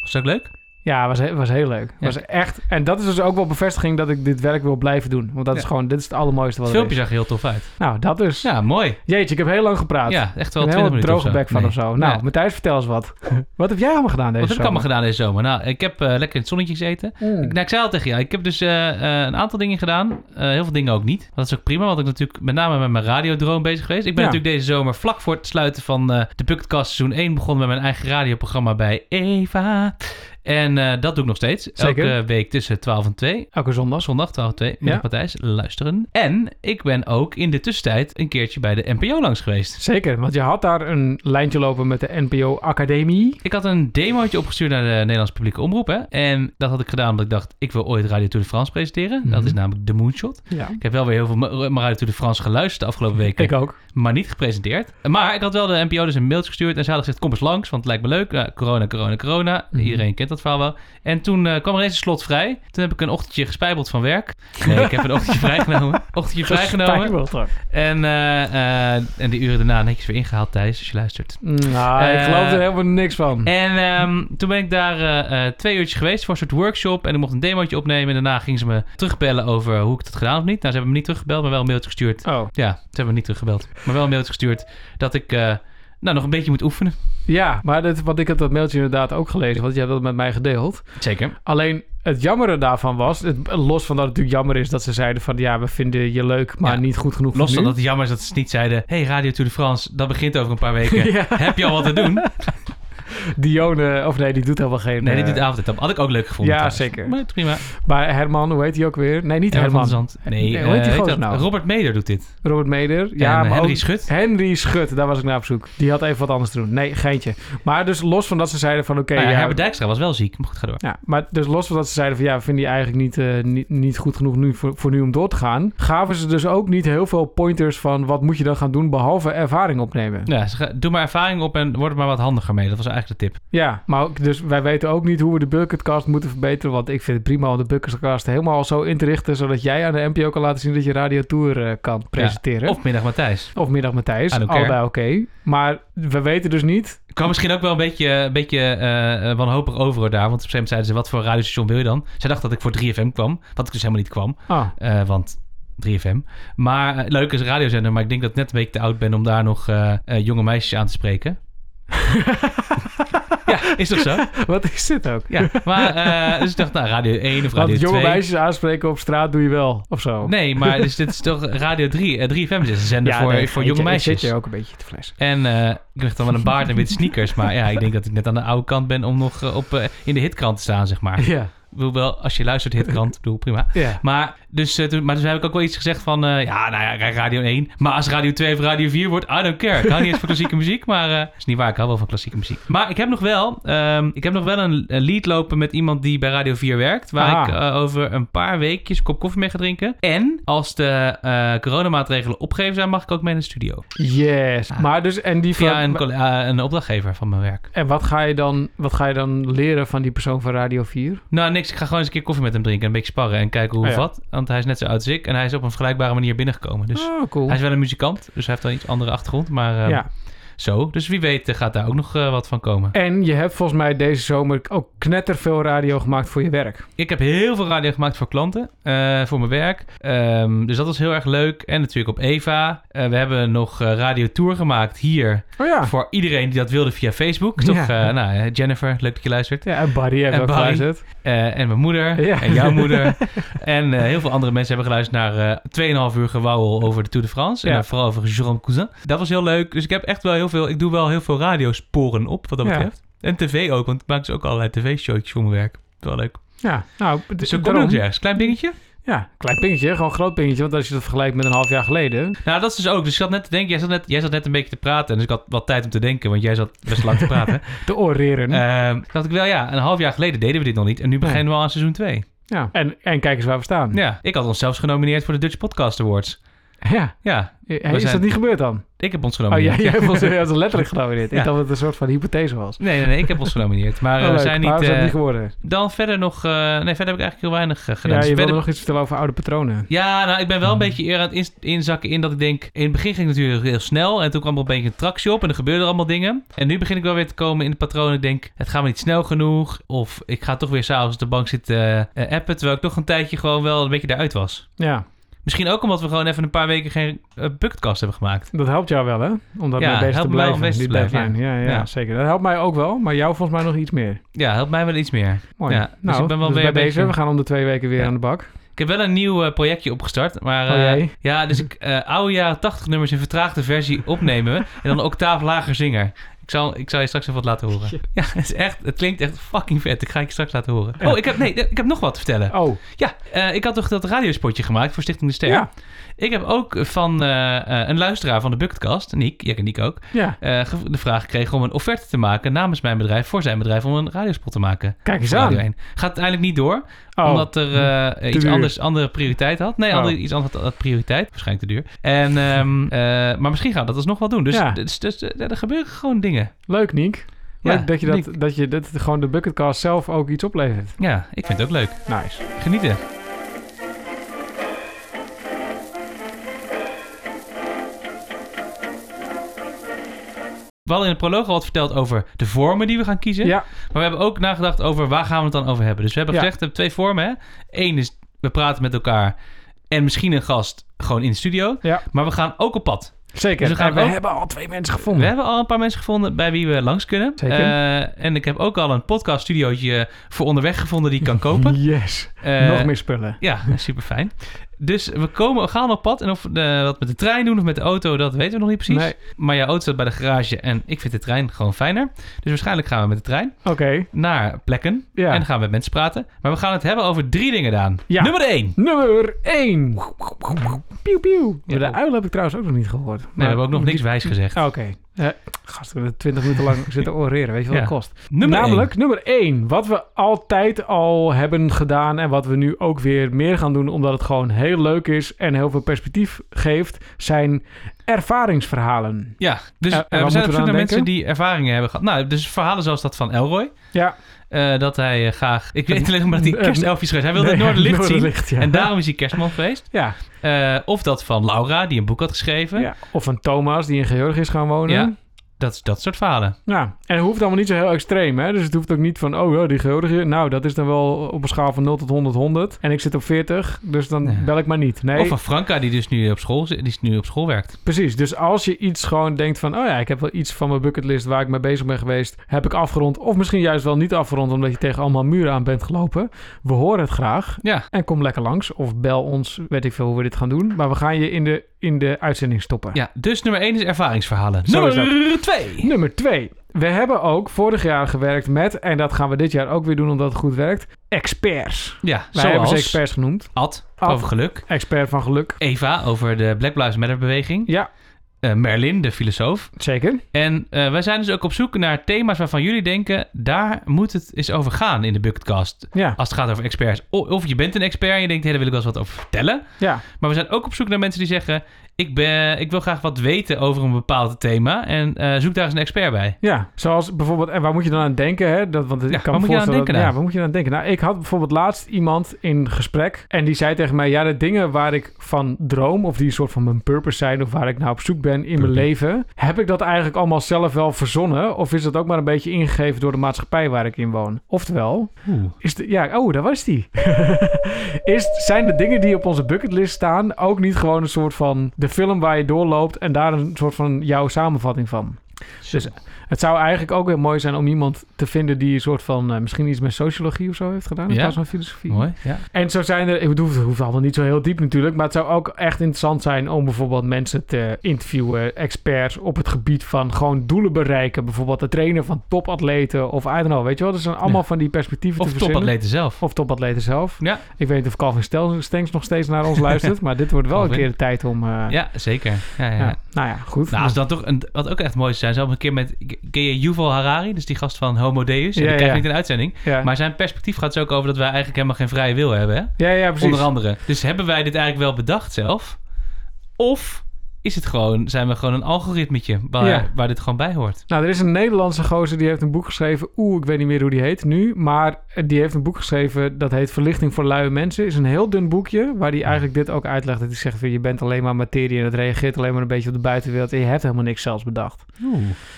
Speaker 2: Was dat ook leuk?
Speaker 1: Ja, was, he- was heel leuk.
Speaker 2: Ja.
Speaker 1: Was echt, en dat is dus ook wel bevestiging dat ik dit werk wil blijven doen. Want dat
Speaker 2: Ja.
Speaker 1: is gewoon, dit is het allermooiste wat
Speaker 2: Het
Speaker 1: er
Speaker 2: filmpje
Speaker 1: is.
Speaker 2: zag er heel tof uit.
Speaker 1: Nou, dat dus.
Speaker 2: Ja, mooi.
Speaker 1: Jeetje, ik heb heel lang gepraat.
Speaker 2: Ja, echt
Speaker 1: Ik
Speaker 2: wel
Speaker 1: heb
Speaker 2: 20
Speaker 1: een hele
Speaker 2: minuten
Speaker 1: droge bek van
Speaker 2: Nee.
Speaker 1: of zo. Nou,
Speaker 2: Ja.
Speaker 1: Matthijs, vertel eens wat. wat heb jij allemaal gedaan deze
Speaker 2: Wat heb ik allemaal
Speaker 1: zomer? Mm.
Speaker 2: gedaan deze zomer? Nou, ik heb eh, lekker in het zonnetje gezeten. Ik, nou, ik zei al tegen jou, ik heb dus eh, eh, een aantal dingen gedaan. Eh, heel veel dingen ook niet. Dat is ook prima, want ik ben natuurlijk met name met mijn radiodroom bezig geweest. Ik ben
Speaker 1: Ja.
Speaker 2: natuurlijk deze zomer vlak voor het sluiten van eh, de Bucketcast seizoen 1 begonnen met mijn eigen radioprogramma bij Eva. En eh, dat doe ik nog steeds.
Speaker 1: Zeker.
Speaker 2: Elke week tussen 12 en 2.
Speaker 1: Elke zondag.
Speaker 2: Zondag 12 en 2 met
Speaker 1: Ja.
Speaker 2: Matthijs luisteren. En ik ben ook in de tussentijd een keertje bij de NPO langs geweest.
Speaker 1: Zeker, want je had daar een lijntje lopen met de NPO Academie.
Speaker 2: Ik had een demootje opgestuurd naar de Nederlandse publieke omroep. Hè? En dat had ik gedaan omdat ik dacht, ik wil ooit Radio Tour de France presenteren. Dat
Speaker 1: Mhm.
Speaker 2: is namelijk de Moonshot.
Speaker 1: Ja.
Speaker 2: Ik heb wel weer heel veel Ma- Ma- Radio Tour de France geluisterd de afgelopen weken.
Speaker 1: Ik ook.
Speaker 2: Maar niet gepresenteerd. Maar ik had wel de NPO dus een mailtje gestuurd. En ze hadden gezegd, kom eens langs, want het lijkt me leuk. Nou, corona, corona, corona.
Speaker 1: Mhm.
Speaker 2: Iedereen kent dat verhaal wel. En toen eh, kwam er eens een slot vrij. Toen heb ik een ochtendje gespijbeld van werk. Nee, ik heb een ochtendje vrijgenomen. Ochtendje vrijgenomen.
Speaker 1: Spijbelt er.
Speaker 2: En, eh, eh, en de uren daarna netjes weer ingehaald, Thijs, als je luistert.
Speaker 1: Nou, ik
Speaker 2: Eh,
Speaker 1: geloof er helemaal niks van.
Speaker 2: En ehm, toen ben ik daar eh, eh, twee uurtjes geweest voor een soort workshop. En ik mocht een demootje opnemen. En daarna gingen ze me terugbellen over hoe ik het had gedaan of niet. Nou, ze hebben me niet teruggebeld, maar wel een mailtje gestuurd.
Speaker 1: Oh.
Speaker 2: Ja, ze hebben me niet teruggebeld. Maar wel een mailtje gestuurd dat ik eh, nou, nog een beetje moet oefenen.
Speaker 1: Ja, maar dit, want ik heb dat mailtje inderdaad ook gelezen, want je hebt dat met mij gedeeld.
Speaker 2: Zeker.
Speaker 1: Alleen het jammere daarvan was, het, los van dat het natuurlijk jammer is dat ze zeiden van ja, we vinden je leuk, maar
Speaker 2: Ja.
Speaker 1: niet goed genoeg
Speaker 2: Los
Speaker 1: voor
Speaker 2: van
Speaker 1: nu.
Speaker 2: dat het jammer is dat ze niet zeiden... Hey, Radio Tour de France, dat begint over een paar weken.
Speaker 1: ja,
Speaker 2: Heb je al wat te doen?
Speaker 1: Dione, of nee, die doet helemaal geen...
Speaker 2: Nee, dit
Speaker 1: eh,
Speaker 2: doet de avond. Dat had ik ook leuk gevonden.
Speaker 1: Ja,
Speaker 2: trouwens.
Speaker 1: zeker.
Speaker 2: Maar prima.
Speaker 1: Maar Herman, hoe heet die ook weer? Nee, niet
Speaker 2: Herman van der
Speaker 1: Herman.
Speaker 2: Zand. Nee,
Speaker 1: Nee,
Speaker 2: eh,
Speaker 1: hoe heet die gozer
Speaker 2: dat?
Speaker 1: nou?
Speaker 2: Robert Meder doet dit.
Speaker 1: Robert Meder.
Speaker 2: Ja,
Speaker 1: Ja, maar
Speaker 2: Henry
Speaker 1: ook-
Speaker 2: Schut.
Speaker 1: Henry Schut, daar was ik naar op zoek. Die had even wat anders te doen. Nee, geintje. Maar dus los van dat ze zeiden van oké...
Speaker 2: Nou ja,
Speaker 1: ja,
Speaker 2: Herbert Dijkstra was wel ziek. Maar goed, ga door.
Speaker 1: Ja, maar dus los van dat ze zeiden van ja, we vinden die eigenlijk niet, eh, niet, niet goed genoeg nu voor, voor nu om door te gaan, gaven ze dus ook niet heel veel pointers van wat moet je dan gaan doen behalve ervaring opnemen.
Speaker 2: Ja, ze ga- doe maar ervaring op en word er maar wat handiger mee. Dat was eigenlijk de tip.
Speaker 1: Ja, maar ook- dus wij weten ook niet hoe we de bucketcast moeten verbeteren. Want ik vind het prima om de bucketcast helemaal zo in te richten... zodat jij aan de NPO kan laten zien dat je Radio Tour eh, kan presenteren. Of,
Speaker 2: Of middag Matthijs.
Speaker 1: Middag Matthijs,
Speaker 2: I don't care.
Speaker 1: allebei oké. Maar we weten dus niet...
Speaker 2: Ik kwam misschien ook wel een beetje, een beetje eh, eh, wanhopig over hoor, daar. Want op een gegeven moment zeiden ze, wat voor radiostation wil je dan? Zij dacht dat ik voor 3FM kwam, wat ik dus helemaal niet kwam.
Speaker 1: Ah,
Speaker 2: eh, want 3FM. Maar eh, leuk is een radiozender, maar ik denk dat ik net een beetje te oud ben om daar nog eh, eh, jonge meisjes aan te spreken. ja, is toch zo?
Speaker 1: wat is dit ook?
Speaker 2: Ja, maar eh, dus ik dacht, nou, Radio 1 of Radio
Speaker 1: Want jonge
Speaker 2: 2.
Speaker 1: meisjes aanspreken op straat doe je wel, of zo.
Speaker 2: Nee, maar dus, dit is toch Radio 3. eh, 3FM is een zender
Speaker 1: Ja,
Speaker 2: voor,
Speaker 1: nee,
Speaker 2: voor
Speaker 1: ik-
Speaker 2: jonge
Speaker 1: ik
Speaker 2: meisjes.
Speaker 1: zit je ook een beetje te fles.
Speaker 2: En eh, ik leg dan wel een baard en witte sneakers. Maar ja, ik denk dat ik net aan de oude kant ben om nog eh, op, eh, in de hitkrant te staan, zeg maar. Ik
Speaker 1: Ja,
Speaker 2: bedoel wel, als je luistert hitkrant, doe prima.
Speaker 1: ja.
Speaker 2: Maar, dus, eh, toen, maar toen heb ik ook wel iets gezegd van... eh, ja, nou ja, Radio 1. Maar als Radio 2 of Radio 4 wordt, I don't care. Ik hou niet eens van klassieke muziek, maar... eh is niet waar, ik hou wel van klassieke muziek. Maar ik heb nog wel, ehm, ik heb nog wel een, een lied lopen met iemand die bij Radio 4 werkt... waar
Speaker 1: Aha.
Speaker 2: ik eh, over een paar weekjes een kop koffie mee ga drinken. En als de eh, coronamaatregelen opgegeven zijn, mag ik ook mee naar de studio.
Speaker 1: Yes. Maar dus, en die
Speaker 2: Via
Speaker 1: van-
Speaker 2: een, colla- eh, een opdrachtgever van mijn werk.
Speaker 1: En wat ga, je dan, wat ga je dan leren van die persoon van Radio 4?
Speaker 2: Nou, niks. Ik ga gewoon eens een keer koffie met hem drinken. en Een beetje sparren en kijken hoe
Speaker 1: Ah,
Speaker 2: het
Speaker 1: ja.
Speaker 2: wat. Want hij is net zo oud als ik. En hij is op een vergelijkbare manier binnengekomen. Dus
Speaker 1: Oh, cool.
Speaker 2: hij is wel een muzikant. Dus hij heeft wel iets andere achtergrond. Maar eh,
Speaker 1: Ja.
Speaker 2: zo. Dus wie weet eh, gaat daar ook nog eh, wat van komen.
Speaker 1: En je hebt volgens mij deze zomer ook knetterveel radio gemaakt voor je werk.
Speaker 2: Ik heb heel veel radio gemaakt voor klanten. eh, voor mijn werk. Ehm, dus dat was heel erg leuk. En natuurlijk op Eva. Eh, we hebben nog eh, Radio Tour gemaakt hier.
Speaker 1: Oh ja.
Speaker 2: Voor iedereen die dat wilde via Facebook. Toch?
Speaker 1: Ja.
Speaker 2: eh, nou, eh, Jennifer, leuk dat je luistert.
Speaker 1: Ja, en Barry heeft
Speaker 2: En
Speaker 1: ook
Speaker 2: Barry.
Speaker 1: geluisterd.
Speaker 2: Eh, en mijn moeder.
Speaker 1: Ja.
Speaker 2: En jouw moeder. en eh, heel veel andere mensen hebben geluisterd naar eh 2,5 uur gewauwel over de Tour de France. En
Speaker 1: Ja.
Speaker 2: dan vooral over Jérôme Cousin. Dat was heel leuk. Dus ik heb echt wel heel veel. Ik doe wel heel veel radiosporen op wat dat
Speaker 1: Ja.
Speaker 2: betreft. En tv ook, want ik maak dus ook allerlei tv-showtjes voor mijn werk. Wel leuk.
Speaker 1: Ja, nou,
Speaker 2: Dus
Speaker 1: dus
Speaker 2: zo kom ik ook ergens. Klein dingetje.
Speaker 1: Ja, klein pingetje, gewoon groot pingetje. Want als je dat vergelijkt met een half jaar geleden.
Speaker 2: Nou, dat is dus ook. Dus ik zat net te denken. Jij zat net, jij zat net een beetje te praten. Dus ik had wat tijd om te denken, want jij zat best lang te praten.
Speaker 1: te oreren.
Speaker 2: Ehm dacht ik wel, ja, een half jaar geleden deden we dit nog niet. En nu beginnen we al aan seizoen 2.
Speaker 1: ja. en, en kijk eens waar we staan.
Speaker 2: Ja, ik had ons zelfs genomineerd voor de Dutch Podcast Awards.
Speaker 1: Ja.
Speaker 2: Ja,
Speaker 1: Hey,
Speaker 2: We
Speaker 1: Is
Speaker 2: zijn-
Speaker 1: dat niet gebeurd dan?
Speaker 2: Ik heb
Speaker 1: Oh,
Speaker 2: ons
Speaker 1: jij,
Speaker 2: genomineerd.
Speaker 1: jij hebt ons- jij hebt ons letterlijk genomineerd.
Speaker 2: Ja.
Speaker 1: Ik dacht dat het een soort van hypothese was.
Speaker 2: Nee, nee, nee, ik heb ons genomineerd. Maar eh,
Speaker 1: Oh,
Speaker 2: we
Speaker 1: leuk,
Speaker 2: zijn
Speaker 1: maar
Speaker 2: niet...
Speaker 1: we zijn
Speaker 2: eh,
Speaker 1: niet geworden.
Speaker 2: dan verder nog... eh, nee, verder heb ik eigenlijk heel weinig eh, gedaan.
Speaker 1: Ja,
Speaker 2: Dus
Speaker 1: je wilde
Speaker 2: verder-
Speaker 1: nog Hmm. iets vertellen over oude patronen.
Speaker 2: Ja, nou, ik ben wel een beetje eer aan het ins- inzakken in dat ik denk... In het begin ging het natuurlijk heel snel. En toen kwam er een beetje een tractie op en er gebeurden allemaal dingen. En nu begin ik wel weer te komen in de patronen. Ik denk, het gaat me niet snel genoeg. Of ik ga toch weer s'avonds op de bank zitten eh, appen. Terwijl ik toch een tijdje gewoon wel een beetje daaruit was.
Speaker 1: Ja,
Speaker 2: Misschien ook omdat we gewoon even een paar weken geen eh, bucketcast hebben gemaakt.
Speaker 1: dat helpt jou wel, hè? Om dat
Speaker 2: Ja,
Speaker 1: mee bezig
Speaker 2: helpt
Speaker 1: te
Speaker 2: me wel
Speaker 1: blijven.
Speaker 2: om bezig te
Speaker 1: Niet bij
Speaker 2: blijven,
Speaker 1: fijn. Ja, ja,
Speaker 2: Ja.
Speaker 1: zeker. Dat helpt mij ook wel, maar jou volgens mij nog iets meer.
Speaker 2: Ja, helpt mij wel iets meer.
Speaker 1: Mooi.
Speaker 2: Ja, dus
Speaker 1: nou,
Speaker 2: ik ben wel
Speaker 1: dus bij
Speaker 2: weer een
Speaker 1: deze.
Speaker 2: beetje-
Speaker 1: We gaan om de twee weken weer
Speaker 2: Ja.
Speaker 1: aan de bak.
Speaker 2: Ik heb wel een nieuw eh, projectje opgestart. Maar
Speaker 1: Oh,
Speaker 2: eh,
Speaker 1: jee.
Speaker 2: ja, dus ik, eh, oude jaren 80 nummers in vertraagde versie opnemen. en dan een octaaf lager zingen. Ik zal, ik zal je straks even wat laten horen.
Speaker 1: Shit.
Speaker 2: Ja, het, is echt, het klinkt echt fucking vet. Ik ga je straks laten horen.
Speaker 1: Ja.
Speaker 2: Oh, ik heb, nee, ik heb nog wat te vertellen.
Speaker 1: Oh,
Speaker 2: Ja, eh, ik had toch dat radiospotje gemaakt voor Stichting de Ster.
Speaker 1: ja.
Speaker 2: Ik heb ook van eh, eh, een luisteraar van de Bucketcast, Nick, jij en Nick ook,
Speaker 1: ja.
Speaker 2: eh, gev- de vraag gekregen om een offerte te maken namens mijn bedrijf, voor zijn bedrijf, om een radiospot te maken.
Speaker 1: Kijk eens
Speaker 2: voor Radio
Speaker 1: aan.
Speaker 2: 1. Gaat uiteindelijk niet door
Speaker 1: Oh,
Speaker 2: omdat er eh, iets
Speaker 1: duur.
Speaker 2: anders, andere prioriteit had. Nee,
Speaker 1: Oh.
Speaker 2: andere, iets anders had, had prioriteit. Waarschijnlijk te duur. En, ehm, eh, maar misschien gaan we dat alsnog wel doen. Dus,
Speaker 1: Ja.
Speaker 2: dus, dus, eh, er gebeuren gewoon dingen.
Speaker 1: leuk, Niek. Leuk
Speaker 2: Ja,
Speaker 1: dat je, dat,
Speaker 2: Niek.
Speaker 1: dat je dat gewoon de bucketcast zelf ook iets oplevert.
Speaker 2: Ja, ik vind het ook leuk.
Speaker 1: Nice.
Speaker 2: Genieten. We hadden in de proloog al wat verteld over de vormen die we gaan kiezen.
Speaker 1: Ja,
Speaker 2: Maar we hebben ook nagedacht over waar gaan we het dan over hebben. Dus we hebben
Speaker 1: Ja.
Speaker 2: gezegd, we hebben twee vormen. Hè? Eén is, we praten met elkaar en misschien een gast gewoon in de studio.
Speaker 1: Ja.
Speaker 2: Maar we gaan ook op pad.
Speaker 1: zeker.
Speaker 2: Dus we gaan
Speaker 1: En we
Speaker 2: ook-
Speaker 1: hebben al twee mensen
Speaker 2: We
Speaker 1: gevonden.
Speaker 2: hebben al een paar mensen gevonden bij wie we langs kunnen.
Speaker 1: Zeker.
Speaker 2: Eh, en ik heb ook al een podcaststudiootje voor onderweg gevonden die ik kan kopen.
Speaker 1: Yes.
Speaker 2: Eh,
Speaker 1: Nog meer spullen.
Speaker 2: Ja, super fijn. Dus we, komen, we gaan op pad. En of we eh, wat met de trein doen of met de auto, dat weten we nog niet precies.
Speaker 1: Nee.
Speaker 2: Maar jouw auto staat bij de garage en ik vind de trein gewoon fijner. Dus waarschijnlijk gaan we met de trein
Speaker 1: Oké.
Speaker 2: naar plekken.
Speaker 1: Ja.
Speaker 2: En dan gaan we met mensen praten. Maar we gaan het hebben over drie dingen, Daan.
Speaker 1: Ja.
Speaker 2: Nummer één.
Speaker 1: Nummer 1. Piu, piu.
Speaker 2: Ja,
Speaker 1: de
Speaker 2: oh.
Speaker 1: uil heb ik trouwens ook nog niet gehoord.
Speaker 2: Nee, we hebben ook nog niks wijs gezegd.
Speaker 1: Oké. Eh, gast, we hebben 20 minuten lang zitten oreren. Weet je wat
Speaker 2: Ja.
Speaker 1: dat kost?
Speaker 2: Nummer
Speaker 1: Namelijk nummer 1. Wat we altijd al hebben gedaan en wat we nu ook weer meer gaan doen, omdat het gewoon heel leuk is en heel veel perspectief geeft, zijn ervaringsverhalen.
Speaker 2: Ja, dus
Speaker 1: En-
Speaker 2: eh,
Speaker 1: en
Speaker 2: we
Speaker 1: wat
Speaker 2: zijn op
Speaker 1: moeten
Speaker 2: zoek
Speaker 1: we
Speaker 2: naar
Speaker 1: aan
Speaker 2: mensen
Speaker 1: denken?
Speaker 2: die ervaringen hebben gehad. Nou, dus verhalen zoals dat van Elroy.
Speaker 1: Ja.
Speaker 2: eh, dat hij eh, graag... Ik weet niet alleen maar dat hij
Speaker 1: Eh,
Speaker 2: kerstelfjes geweest. Hij wilde
Speaker 1: Nee,
Speaker 2: het Noorderlicht zien.
Speaker 1: Noorderlicht, ja.
Speaker 2: En daarom is hij kerstman geweest.
Speaker 1: ja.
Speaker 2: Eh, of dat van Laura, die een boek had geschreven.
Speaker 1: ja. Of een Thomas die in Georgië is gaan wonen.
Speaker 2: Ja. Dat, dat soort verhalen.
Speaker 1: Ja, en het hoeft allemaal niet zo heel extreem, hè? Dus het hoeft ook niet van, oh ja, die Georgië, nou, dat is dan wel op een schaal van 0 tot 100, 100. En ik zit op 40, dus dan
Speaker 2: Ja.
Speaker 1: bel ik maar niet. Nee,
Speaker 2: Of van Franca, die dus nu op school, zit- die nu op school werkt.
Speaker 1: precies. Dus als je iets gewoon denkt van, oh ja, ik heb wel iets van mijn bucketlist waar ik mee bezig ben geweest, heb ik afgerond. Of misschien juist wel niet afgerond, omdat je tegen allemaal muren aan bent gelopen. We horen het graag.
Speaker 2: Ja.
Speaker 1: En kom lekker langs, of bel ons, weet ik veel hoe we dit gaan doen. Maar we gaan je in de, in de uitzending stoppen.
Speaker 2: Ja, dus nummer 1 is ervaringsverhalen.
Speaker 1: Zo is dat.
Speaker 2: nummer 2.
Speaker 1: Nummer 2. We hebben ook vorig jaar gewerkt met, en dat gaan we dit jaar ook weer doen omdat het goed werkt, experts.
Speaker 2: Ja,
Speaker 1: Wij hebben
Speaker 2: zoals
Speaker 1: ze experts genoemd.
Speaker 2: Ad,
Speaker 1: Ad.
Speaker 2: over geluk.
Speaker 1: Expert van geluk.
Speaker 2: Eva over de Black Lives Matter beweging.
Speaker 1: Ja,
Speaker 2: Eh, Merlin, de filosoof.
Speaker 1: zeker.
Speaker 2: En eh, wij zijn dus ook op zoek naar thema's waarvan jullie denken... daar moet het eens over gaan in de Bucketcast.
Speaker 1: Ja,
Speaker 2: Als het gaat over experts. O- Of je bent een expert en je denkt... hé, daar wil ik wel eens wat over vertellen.
Speaker 1: ja.
Speaker 2: Maar we zijn ook op zoek naar mensen die zeggen... ik, ben, ik wil graag wat weten over een bepaald thema... en eh, zoek daar eens een expert bij.
Speaker 1: Ja, zoals bijvoorbeeld, en waar moet je dan aan denken? Hè? Dat, want ik
Speaker 2: Ja,
Speaker 1: kan
Speaker 2: waar
Speaker 1: me
Speaker 2: moet je aan
Speaker 1: voorstellen
Speaker 2: denken
Speaker 1: dat-
Speaker 2: dan?
Speaker 1: ja, waar moet je dan aan denken? Nou, ik had bijvoorbeeld laatst iemand in gesprek en die zei tegen mij: Ja, de dingen waar ik van droom, of die een soort van mijn purpose zijn, of waar ik nou op zoek ben in mijn
Speaker 2: Purpose.
Speaker 1: leven, heb ik dat eigenlijk allemaal zelf wel verzonnen? Of is dat ook maar een beetje ingegeven door de maatschappij waar ik in woon? Oftewel, Is de, ja, oh, daar was die. is, zijn de dingen die op onze bucketlist staan ook niet gewoon een soort van de film waar je doorloopt en daar een soort van jouw samenvatting van? Dus het zou eigenlijk ook weer mooi zijn om iemand te vinden die een soort van eh, misschien iets met sociologie of zo heeft gedaan. In
Speaker 2: Ja.
Speaker 1: plaats van filosofie.
Speaker 2: Mooi, ja.
Speaker 1: En zo zijn er, ik bedoel, het hoeft allemaal niet zo heel diep natuurlijk, maar het zou ook echt interessant zijn om bijvoorbeeld mensen te interviewen, experts op het gebied van gewoon doelen bereiken. Bijvoorbeeld het trainen van topatleten of I don't know, weet je wel. Dat zijn allemaal van die perspectieven
Speaker 2: Of
Speaker 1: te verzinnen.
Speaker 2: topatleten zelf.
Speaker 1: Of topatleten zelf.
Speaker 2: Ja.
Speaker 1: Ik weet niet of Calvin Stel- Stenks nog steeds naar ons luistert. maar dit wordt wel een
Speaker 2: Calvin.
Speaker 1: keer de tijd om... eh,
Speaker 2: Ja, zeker. Ja, ja.
Speaker 1: ja, Nou ja, goed.
Speaker 2: Nou, als dat toch een, wat ook echt mooi zou zijn, zou ik een keer met. Ken je Yuval Harari, dus die gast van Homo Deus? Ja,
Speaker 1: Ja,
Speaker 2: die krijg
Speaker 1: ja.
Speaker 2: niet in de uitzending.
Speaker 1: ja.
Speaker 2: Maar zijn perspectief gaat dus ook over dat wij eigenlijk helemaal geen vrije wil hebben. Hè?
Speaker 1: ja, ja, precies.
Speaker 2: Onder andere. Dus hebben wij dit eigenlijk wel bedacht zelf? Of is het gewoon, zijn we gewoon een algoritmetje waar,
Speaker 1: Ja.
Speaker 2: waar dit gewoon bij hoort?
Speaker 1: Nou, er is een Nederlandse gozer die heeft een boek geschreven. Oeh, ik weet niet meer hoe die heet nu. Maar eh, die heeft een boek geschreven dat heet Verlichting voor luie mensen. Is een heel dun boekje waar hij eigenlijk dit ook uitlegt. Dat hij zegt, van, je bent alleen maar materie en het reageert alleen maar een beetje op de buitenwereld. En je hebt helemaal niks zelfs bedacht.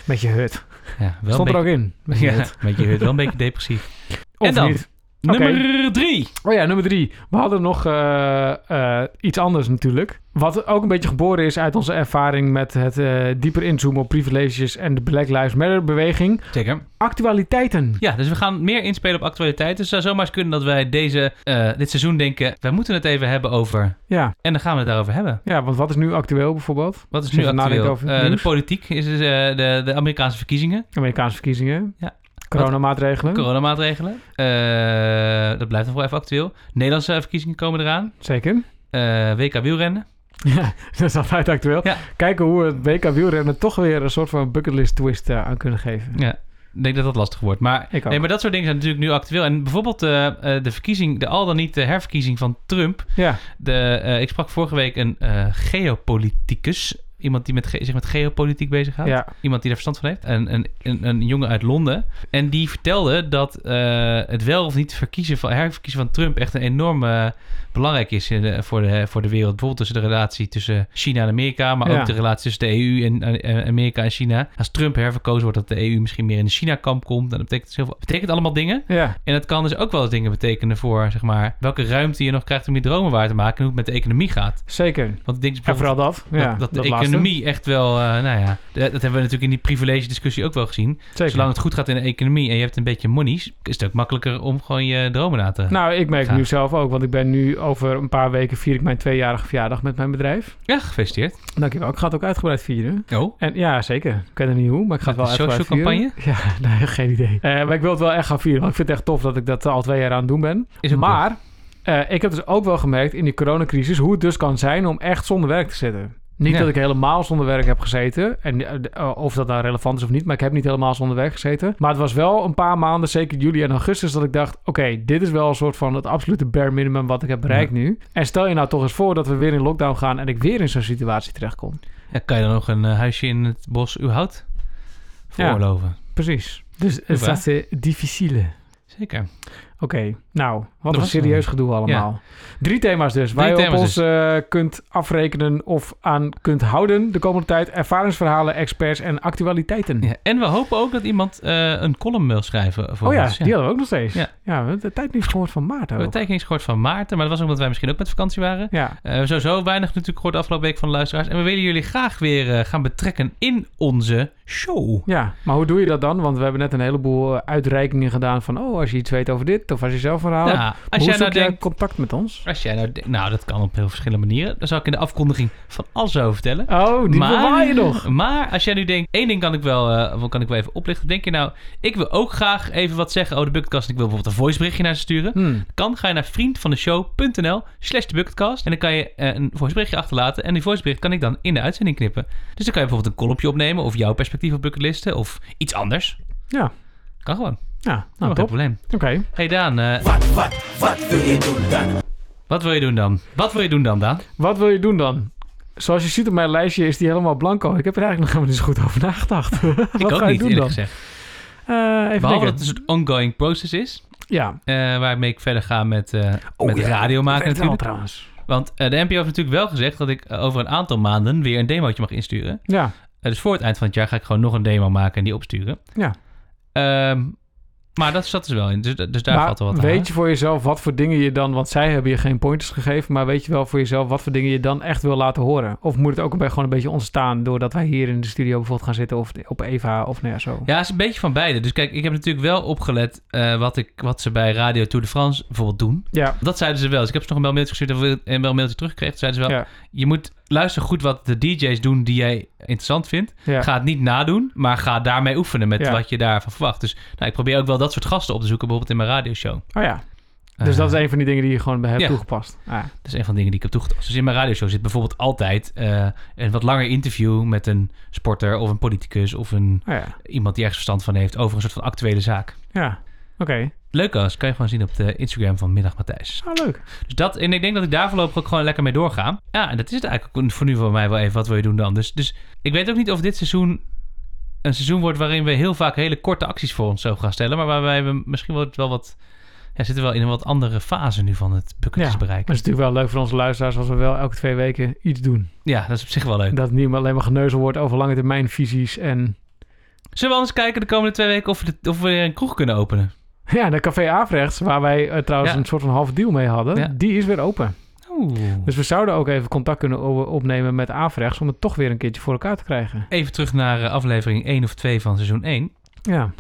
Speaker 1: Met je hut.
Speaker 2: Ja, wel
Speaker 1: Stond
Speaker 2: een
Speaker 1: er ook in. Met
Speaker 2: beetje,
Speaker 1: je
Speaker 2: ja,
Speaker 1: hut.
Speaker 2: met je hut, wel een beetje depressief.
Speaker 1: Of
Speaker 2: En dan?
Speaker 1: niet. Oké.
Speaker 2: Nummer drie.
Speaker 1: Oh ja, nummer drie. We hadden nog eh, eh, iets anders natuurlijk. Wat ook een beetje geboren is uit onze ervaring met het eh, dieper inzoomen op privileges en de Black Lives Matter beweging.
Speaker 2: Zeker.
Speaker 1: Actualiteiten.
Speaker 2: Ja, dus we gaan meer inspelen op actualiteit. Dus het zou zomaar eens kunnen dat wij deze, eh, dit seizoen denken... wij moeten het even hebben over...
Speaker 1: Ja.
Speaker 2: En dan gaan we het daarover hebben.
Speaker 1: ja, want wat is nu actueel bijvoorbeeld?
Speaker 2: Wat is
Speaker 1: Als je
Speaker 2: nu
Speaker 1: even nadenkt
Speaker 2: actueel?
Speaker 1: over het
Speaker 2: Eh, de
Speaker 1: nieuws.
Speaker 2: politiek is dus, eh, de, de Amerikaanse verkiezingen,
Speaker 1: Amerikaanse verkiezingen.
Speaker 2: Ja.
Speaker 1: Coronamaatregelen.
Speaker 2: coronamaatregelen. Eh, dat blijft nog wel even actueel. Nederlandse verkiezingen komen eraan.
Speaker 1: Zeker.
Speaker 2: Eh, WK wielrennen.
Speaker 1: Ja, dat is altijd actueel.
Speaker 2: Ja.
Speaker 1: Kijken hoe we het WK wielrennen toch weer een soort van bucketlist twist eh, aan kunnen geven.
Speaker 2: Ja, ik denk dat dat lastig wordt. Maar,
Speaker 1: Ik ook.
Speaker 2: nee, maar dat soort dingen zijn natuurlijk nu actueel. En bijvoorbeeld eh, eh, de verkiezing, de al dan niet de herverkiezing van Trump.
Speaker 1: Ja,
Speaker 2: De, eh, ik sprak vorige week een eh, geopoliticus. Iemand die met ge- zich met geopolitiek bezighoudt.
Speaker 1: ja.
Speaker 2: Iemand die daar verstand van heeft. Een, een, een, een jongen uit Londen. En die vertelde dat eh, het wel of niet verkiezen van, herverkiezen van Trump echt een enorm eh, belangrijk is in de- voor, de, voor de wereld. Bijvoorbeeld tussen de relatie tussen China en Amerika. Maar
Speaker 1: Ja.
Speaker 2: ook de relatie tussen de EU en, en- en Amerika en China. Als Trump herverkozen wordt, dat de EU misschien meer in de China-kamp komt. Dan betekent het heel veel. betekent allemaal dingen.
Speaker 1: ja.
Speaker 2: En dat kan dus ook wel eens dingen betekenen voor, zeg maar, welke ruimte je nog krijgt om je dromen waar te maken. En hoe het met de economie gaat.
Speaker 1: zeker.
Speaker 2: Want ik denk dus
Speaker 1: En
Speaker 2: bijvoorbeeld
Speaker 1: vooral dat. Ja,
Speaker 2: dat, dat de
Speaker 1: laatste.
Speaker 2: economie echt wel, eh, nou ja, dat, dat hebben we natuurlijk in die privilege discussie ook wel gezien.
Speaker 1: Zeker.
Speaker 2: Zolang het goed gaat in de economie en je hebt een beetje monies, is het ook makkelijker om gewoon je dromen na te...
Speaker 1: Nou, ik merk het nu
Speaker 2: Ja.
Speaker 1: zelf ook, want ik ben nu over een paar weken vier ik mijn tweejarige verjaardag met mijn bedrijf.
Speaker 2: Ja, gefeliciteerd.
Speaker 1: Dankjewel. Ik ga het ook uitgebreid vieren.
Speaker 2: Oh.
Speaker 1: En ja, zeker. Ik weet er niet hoe, maar ik ga het wel
Speaker 2: Met de
Speaker 1: uitgebreid vieren.
Speaker 2: socialcampagne?
Speaker 1: Ja, nee, geen idee. Eh, maar ik wil het wel echt gaan vieren, want ik vind het echt tof dat ik dat al twee jaar aan het doen ben.
Speaker 2: Is ook
Speaker 1: maar eh, ik heb dus ook wel gemerkt in die coronacrisis hoe het dus kan zijn om echt zonder werk te zitten. Niet
Speaker 2: Ja.
Speaker 1: dat ik helemaal zonder werk heb gezeten. En eh, de- eh, of dat nou relevant is of niet, maar ik heb niet helemaal zonder werk gezeten. Maar het was wel een paar maanden, zeker juli en augustus, dat ik dacht: oké, dit is wel een soort van het absolute bare minimum wat ik heb bereikt nu. En stel je nou toch eens voor dat we weer in lockdown gaan en ik weer in zo'n situatie terechtkom.
Speaker 2: Ja, kan je dan nog een eh, huisje in het bos uw hout
Speaker 1: Ja.
Speaker 2: veroorloven?
Speaker 1: Precies. Dus het
Speaker 2: Hoera.
Speaker 1: is difficile.
Speaker 2: Zeker.
Speaker 1: Oké, nou, wat
Speaker 2: was
Speaker 1: een serieus
Speaker 2: hem.
Speaker 1: gedoe allemaal. Drie thema's dus, waar
Speaker 2: Drie
Speaker 1: je op
Speaker 2: thema's
Speaker 1: ons eh, kunt afrekenen of aan kunt houden de komende tijd. Ervaringsverhalen, experts en actualiteiten.
Speaker 2: Ja, en we hopen ook dat iemand eh, een column wil schrijven voor
Speaker 1: oh ja,
Speaker 2: ons.
Speaker 1: die hadden we ook nog steeds.
Speaker 2: Ja.
Speaker 1: Ja, we hebben de tijd niet gehoord van Maarten
Speaker 2: We
Speaker 1: ook.
Speaker 2: hebben tijd niks gehoord van Maarten, maar dat was ook omdat wij misschien ook met vakantie waren.
Speaker 1: Ja,
Speaker 2: Eh, sowieso weinig natuurlijk gehoord de afgelopen week van de luisteraars. En we willen jullie graag weer eh, gaan betrekken in onze show.
Speaker 1: ja, maar hoe doe je dat dan? Want we hebben net een heleboel eh, uitreikingen gedaan van... oh, als je iets weet over dit of als je zelf een verhaal hebt.
Speaker 2: Nou, als
Speaker 1: Oh, hoe
Speaker 2: jij nou
Speaker 1: zoek je
Speaker 2: denkt...
Speaker 1: contact met ons?
Speaker 2: Als jij nou denkt... Nou, dat kan op heel verschillende manieren. Daar zal ik in de afkondiging van alles over vertellen.
Speaker 1: Oh, die bewaar je nog.
Speaker 2: Maar als jij nu denkt, één ding kan ik wel, eh, wel- kan ik wel even oplichten. Denk je nou, ik wil ook graag even wat zeggen over de Bucketkast. en Ik wil bijvoorbeeld een voiceberichtje naar ze sturen.
Speaker 1: Hmm.
Speaker 2: Kan, ga je naar vriendvandeshow.nl slash de Bucketkast. En dan kan je eh, een voiceberichtje achterlaten. En die voicebericht kan ik dan in de uitzending knippen. Dus dan kan je bijvoorbeeld een kolompje opnemen. Of jouw perspectief op bucketlisten. Of iets anders.
Speaker 1: Ja,
Speaker 2: Kan gewoon.
Speaker 1: ja, nou
Speaker 2: Nou, geen
Speaker 1: top.
Speaker 2: probleem.
Speaker 1: Oké,
Speaker 2: Hey Daan, eh,
Speaker 3: Wat, wat, wat wil je doen dan?
Speaker 2: wat wil je doen dan? Wat wil je doen dan, Daan?
Speaker 1: wat wil je doen dan? Zoals je ziet op mijn lijstje is die helemaal blanco. Ik heb er eigenlijk nog helemaal niet zo goed over nagedacht.
Speaker 2: Ik
Speaker 1: wat
Speaker 2: ook
Speaker 1: ga
Speaker 2: niet,
Speaker 1: ik doen
Speaker 2: eerlijk
Speaker 1: dan?
Speaker 2: gezegd.
Speaker 1: Eh, even
Speaker 2: Behalve
Speaker 1: denken.
Speaker 2: dat het een soort ongoing process is.
Speaker 1: Ja,
Speaker 2: eh, waarmee ik verder ga met, eh
Speaker 1: Oh
Speaker 2: met
Speaker 3: ja.
Speaker 2: radio maken
Speaker 1: Vertel
Speaker 2: natuurlijk.
Speaker 1: trouwens.
Speaker 2: Want eh, de NPO heeft natuurlijk wel gezegd dat ik eh, over een aantal maanden weer een demootje mag insturen.
Speaker 1: Ja,
Speaker 2: Eh, dus voor het eind van het jaar ga ik gewoon nog een demo maken en die opsturen.
Speaker 1: Ja.
Speaker 2: Ehm, maar dat zat dus wel in. Dus, dus daar
Speaker 1: maar
Speaker 2: valt wel wat aan.
Speaker 1: weet je voor jezelf wat voor dingen je dan... Want zij hebben je geen pointers gegeven... maar weet je wel voor jezelf wat voor dingen je dan echt wil laten horen? Of moet het ook een be- gewoon een beetje ontstaan... doordat wij hier in de studio bijvoorbeeld gaan zitten... of op Eva of nou ja, zo?
Speaker 2: Ja, het is een beetje van beide. Dus kijk, ik heb natuurlijk wel opgelet eh, wat, ik, wat ze bij Radio Tour de France bijvoorbeeld doen.
Speaker 1: Ja,
Speaker 2: Dat zeiden ze wel. Dus ik heb ze nog een wel mailtje gestuurd en wel een mailtje teruggekregen. Toen zeiden ze wel,
Speaker 1: Ja.
Speaker 2: je moet luisteren goed wat de DJ's doen die jij interessant vindt.
Speaker 1: ja.
Speaker 2: Ga het niet nadoen, maar ga daarmee oefenen met
Speaker 1: Ja.
Speaker 2: wat je daarvan verwacht. Dus nou, ik probeer ook wel dat soort gasten op te zoeken, bijvoorbeeld in mijn radioshow.
Speaker 1: Oh ja, dus dat is een van die dingen die je gewoon bij hebt
Speaker 2: Eh. ja.
Speaker 1: toegepast. Ah,
Speaker 2: Dat is een van de dingen die ik heb toegepast. Dus in mijn radioshow zit bijvoorbeeld altijd eh, een wat langer interview met een sporter of een politicus of een,
Speaker 1: oh ja,
Speaker 2: iemand die ergens verstand van heeft over een soort van actuele zaak.
Speaker 1: ja. Oké,
Speaker 2: Leuk als, kan je gewoon zien op de Instagram van Middag Matthijs.
Speaker 1: nou leuk.
Speaker 2: Dus dat, en ik denk dat ik daar voorlopig ook gewoon lekker mee doorga. Ja, en dat is het eigenlijk ook voor nu voor mij wel even. Wat wil je doen dan? Dus, dus ik weet ook niet of dit seizoen een seizoen wordt waarin we heel vaak hele korte acties voor ons zo gaan stellen. Maar waarbij we misschien wel, wel wat, ja, zitten we wel in een wat andere fase nu van het
Speaker 1: Ja,
Speaker 2: bucketjesbereik.
Speaker 1: maar het is natuurlijk wel leuk voor onze luisteraars... als we wel elke twee weken iets doen.
Speaker 2: Ja, dat is op zich wel leuk.
Speaker 1: Dat het niet alleen maar geneuzel wordt over lange termijn visies en...
Speaker 2: Zullen we anders kijken de komende twee weken of we, de- of we weer een kroeg kunnen openen?
Speaker 1: Ja, de Café Aafrechts, waar wij eh, trouwens
Speaker 2: Ja.
Speaker 1: een soort van half deal mee hadden,
Speaker 2: Ja.
Speaker 1: die is weer open.
Speaker 2: Oeh.
Speaker 1: Dus we zouden ook even contact kunnen o- opnemen met Aafrechts om het toch weer een keertje voor elkaar te krijgen.
Speaker 2: Even terug naar eh, aflevering 1 of 2 van seizoen 1.
Speaker 1: Ja,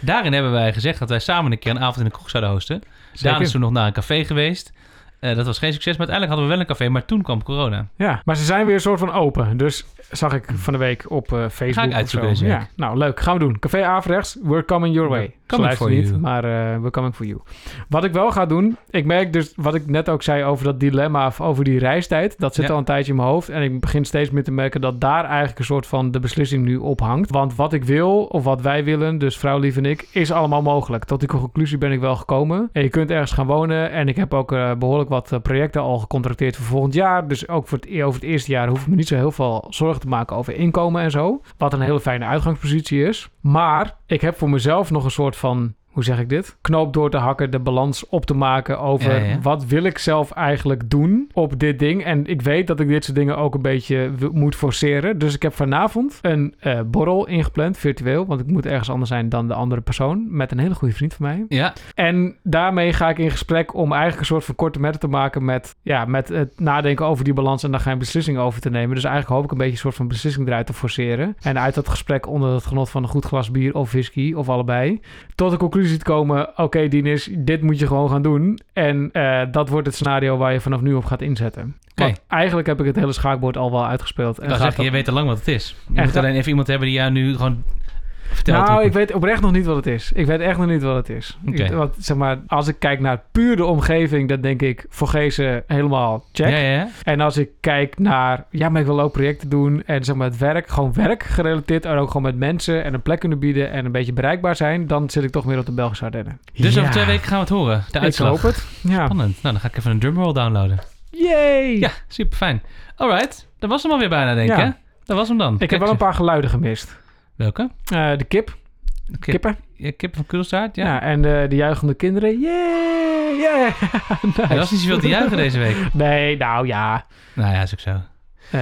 Speaker 2: Daarin hebben wij gezegd dat wij samen een keer een avond in de kroeg zouden hosten. Daan is
Speaker 1: zeker.
Speaker 2: toen nog naar een café geweest. Eh, dat was geen succes, maar uiteindelijk hadden we wel een café. Maar toen kwam corona.
Speaker 1: Ja, maar ze zijn weer een soort van open. Dus zag ik van de week op eh, Facebook.
Speaker 2: Hm. Ga ik
Speaker 1: of
Speaker 2: uitzoeken
Speaker 1: zo.
Speaker 2: deze week.
Speaker 1: Ja, nou leuk. Gaan we doen. Café Aafrechts, we're coming your way.
Speaker 2: We're
Speaker 1: Ze
Speaker 2: coming
Speaker 1: luisteren
Speaker 2: for
Speaker 1: niet,
Speaker 2: you.
Speaker 1: maar eh, we're coming for you. Wat ik wel ga doen, ik merk dus wat ik net ook zei over dat dilemma of over die reistijd. Dat zit
Speaker 2: Ja.
Speaker 1: al een tijdje in mijn hoofd en ik begin steeds meer te merken dat daar eigenlijk een soort van de beslissing nu op hangt. Want wat ik wil of wat wij willen, dus vrouw lief en ik, is allemaal mogelijk. Tot die conclusie ben ik wel gekomen. En je kunt ergens gaan wonen en ik heb ook eh, behoorlijk wat eh, projecten al gecontracteerd voor volgend jaar. Dus ook voor het, e- over het eerste jaar hoef ik me niet zo heel veel zorgen te maken over inkomen en zo. Wat een hele fijne uitgangspositie is. Maar ik heb voor mezelf nog een soort van, hoe zeg ik dit? Knoop door te hakken, de balans op te maken over
Speaker 2: Ja, ja.
Speaker 1: wat wil ik zelf eigenlijk doen op dit ding. En ik weet dat ik dit soort dingen ook een beetje w- moet forceren. Dus ik heb vanavond een eh, borrel ingepland, virtueel. Want ik moet ergens anders zijn dan de andere persoon. Met een hele goede vriend van mij.
Speaker 2: Ja,
Speaker 1: En daarmee ga ik in gesprek om eigenlijk een soort van korte metten te maken met, ja, met het nadenken over die balans en daar geen beslissing over te nemen. Dus eigenlijk hoop ik een beetje een soort van beslissing eruit te forceren. En uit dat gesprek onder het genot van een goed glas bier of whisky of allebei. Tot de conclusie te komen, oké Dinis, dit moet je gewoon gaan doen. En eh, dat wordt het scenario waar je vanaf nu op gaat inzetten. Want eigenlijk heb ik het hele schaakbord al wel uitgespeeld.
Speaker 2: ik wou
Speaker 1: gaat
Speaker 2: zeggen,
Speaker 1: dat-
Speaker 2: je weet al lang wat het is. Je
Speaker 1: En
Speaker 2: moet
Speaker 1: ga-
Speaker 2: alleen even iemand hebben die jou nu gewoon verteld.
Speaker 1: nou, ik weet oprecht nog niet wat het is. Ik weet echt nog niet wat het is.
Speaker 2: Oké.
Speaker 1: Ik- want zeg maar, als ik kijk naar puur de omgeving, dan denk ik voor Gezen helemaal check.
Speaker 2: Ja, ja.
Speaker 1: En als ik kijk naar, ja, maar ik wil ook projecten doen en zeg maar het werk, gewoon werk gerelateerd en ook gewoon met mensen en een plek kunnen bieden en een beetje bereikbaar zijn, dan zit ik toch meer op de Belgische Ardennen.
Speaker 2: Dus
Speaker 1: Ja.
Speaker 2: over twee weken gaan we het horen. De
Speaker 1: Ik
Speaker 2: uitslag.
Speaker 1: hoop het. Ja.
Speaker 2: Spannend. Nou, dan ga ik even een drumroll downloaden.
Speaker 1: Yay!
Speaker 2: Ja, super fijn. Alright, dat was hem alweer bijna, denk ik.
Speaker 1: Ja.
Speaker 2: hè? Dat was hem dan.
Speaker 1: Ik heb wel een paar geluiden gemist.
Speaker 2: Welke?
Speaker 1: Eh, de kip, kippen.
Speaker 2: Ja, kip van Kulstaart, ja.
Speaker 1: Ja. en eh, de, de juichende kinderen. Yay! Yeah!
Speaker 2: Er was niet zoveel te juichen deze week.
Speaker 1: Nee, nou ja.
Speaker 2: Nou ja, is ook zo.
Speaker 1: Eh,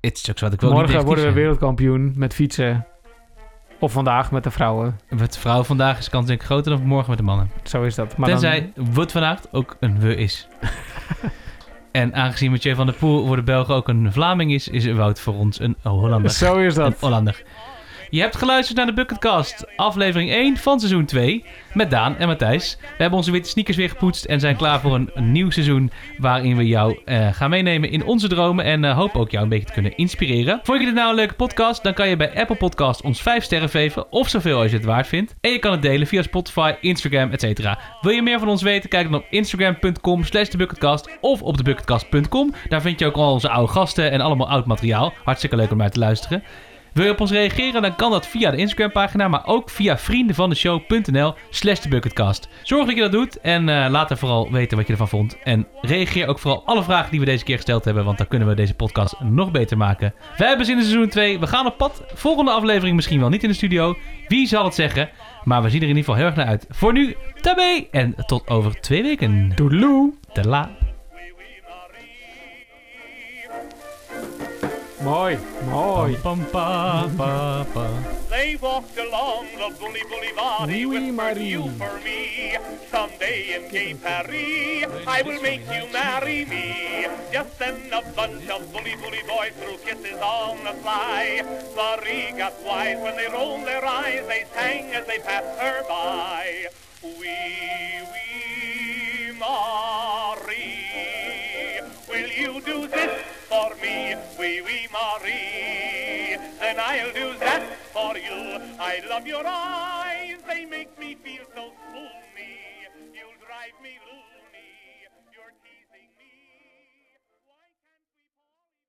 Speaker 2: Het is ook zo. Ik wil niet
Speaker 1: morgen
Speaker 2: negatief
Speaker 1: worden we
Speaker 2: zijn.
Speaker 1: wereldkampioen met fietsen. Of vandaag met de vrouwen.
Speaker 2: Met de vrouw vandaag is de kans denk ik groter dan morgen met de mannen.
Speaker 1: Zo is dat. Maar dan,
Speaker 2: Tenzij wordt vandaag ook een we is. en aangezien Mathieu van der Poel voor de Belgen ook een Vlaming is, is Wout voor ons een Hollander.
Speaker 1: Zo is
Speaker 2: Een
Speaker 1: dat.
Speaker 2: Hollander. Je hebt geluisterd naar de Bucketcast, aflevering 1 van seizoen 2, met Daan en Matthijs. We hebben onze witte sneakers weer gepoetst en zijn klaar voor een, een nieuw seizoen waarin we jou eh, gaan meenemen in onze dromen en eh, hoop ook jou een beetje te kunnen inspireren. Vond je dit nou een leuke podcast? Dan kan je bij Apple Podcast ons 5 sterren geven of zoveel als je het waard vindt. En je kan het delen via Spotify, Instagram, etc. Wil je meer van ons weten? Kijk dan op instagram.com slash debucketcast of op debucketcast.com. Daar vind je ook al onze oude gasten en allemaal oud materiaal. Hartstikke leuk om naar te luisteren. Wil je op ons reageren? Dan kan dat via de Instagram-pagina, maar ook via vriendenvandeshow.nl slash debucketcast. Zorg dat je dat doet en eh, laat er vooral weten wat je ervan vond. En reageer ook vooral alle vragen die we deze keer gesteld hebben, want dan kunnen we deze podcast nog beter maken. Wij hebben zin in seizoen 2. We gaan op pad. Volgende aflevering misschien wel niet in de studio. Wie zal het zeggen? Maar we zien er in ieder geval heel erg naar uit. Voor nu, daarmee en tot over twee weken.
Speaker 1: Doedeloe.
Speaker 2: De la.
Speaker 1: Mooi, mooi.
Speaker 2: Pam, pam, pam, pam.
Speaker 4: They walked along the bully bully body
Speaker 1: Oui,
Speaker 4: with
Speaker 1: Marie.
Speaker 4: you for me. Someday in gay Paris, I will make you marry me. Just then a bunch of bully bully boys threw kisses on the fly. Marie got wise when they rolled their eyes. They sang as they passed her by. Wee wee Marie, will you do this for me? Wee wee Marie, then I'll do that for you. I love your eyes, they make me feel so swoony. You'll drive me loose.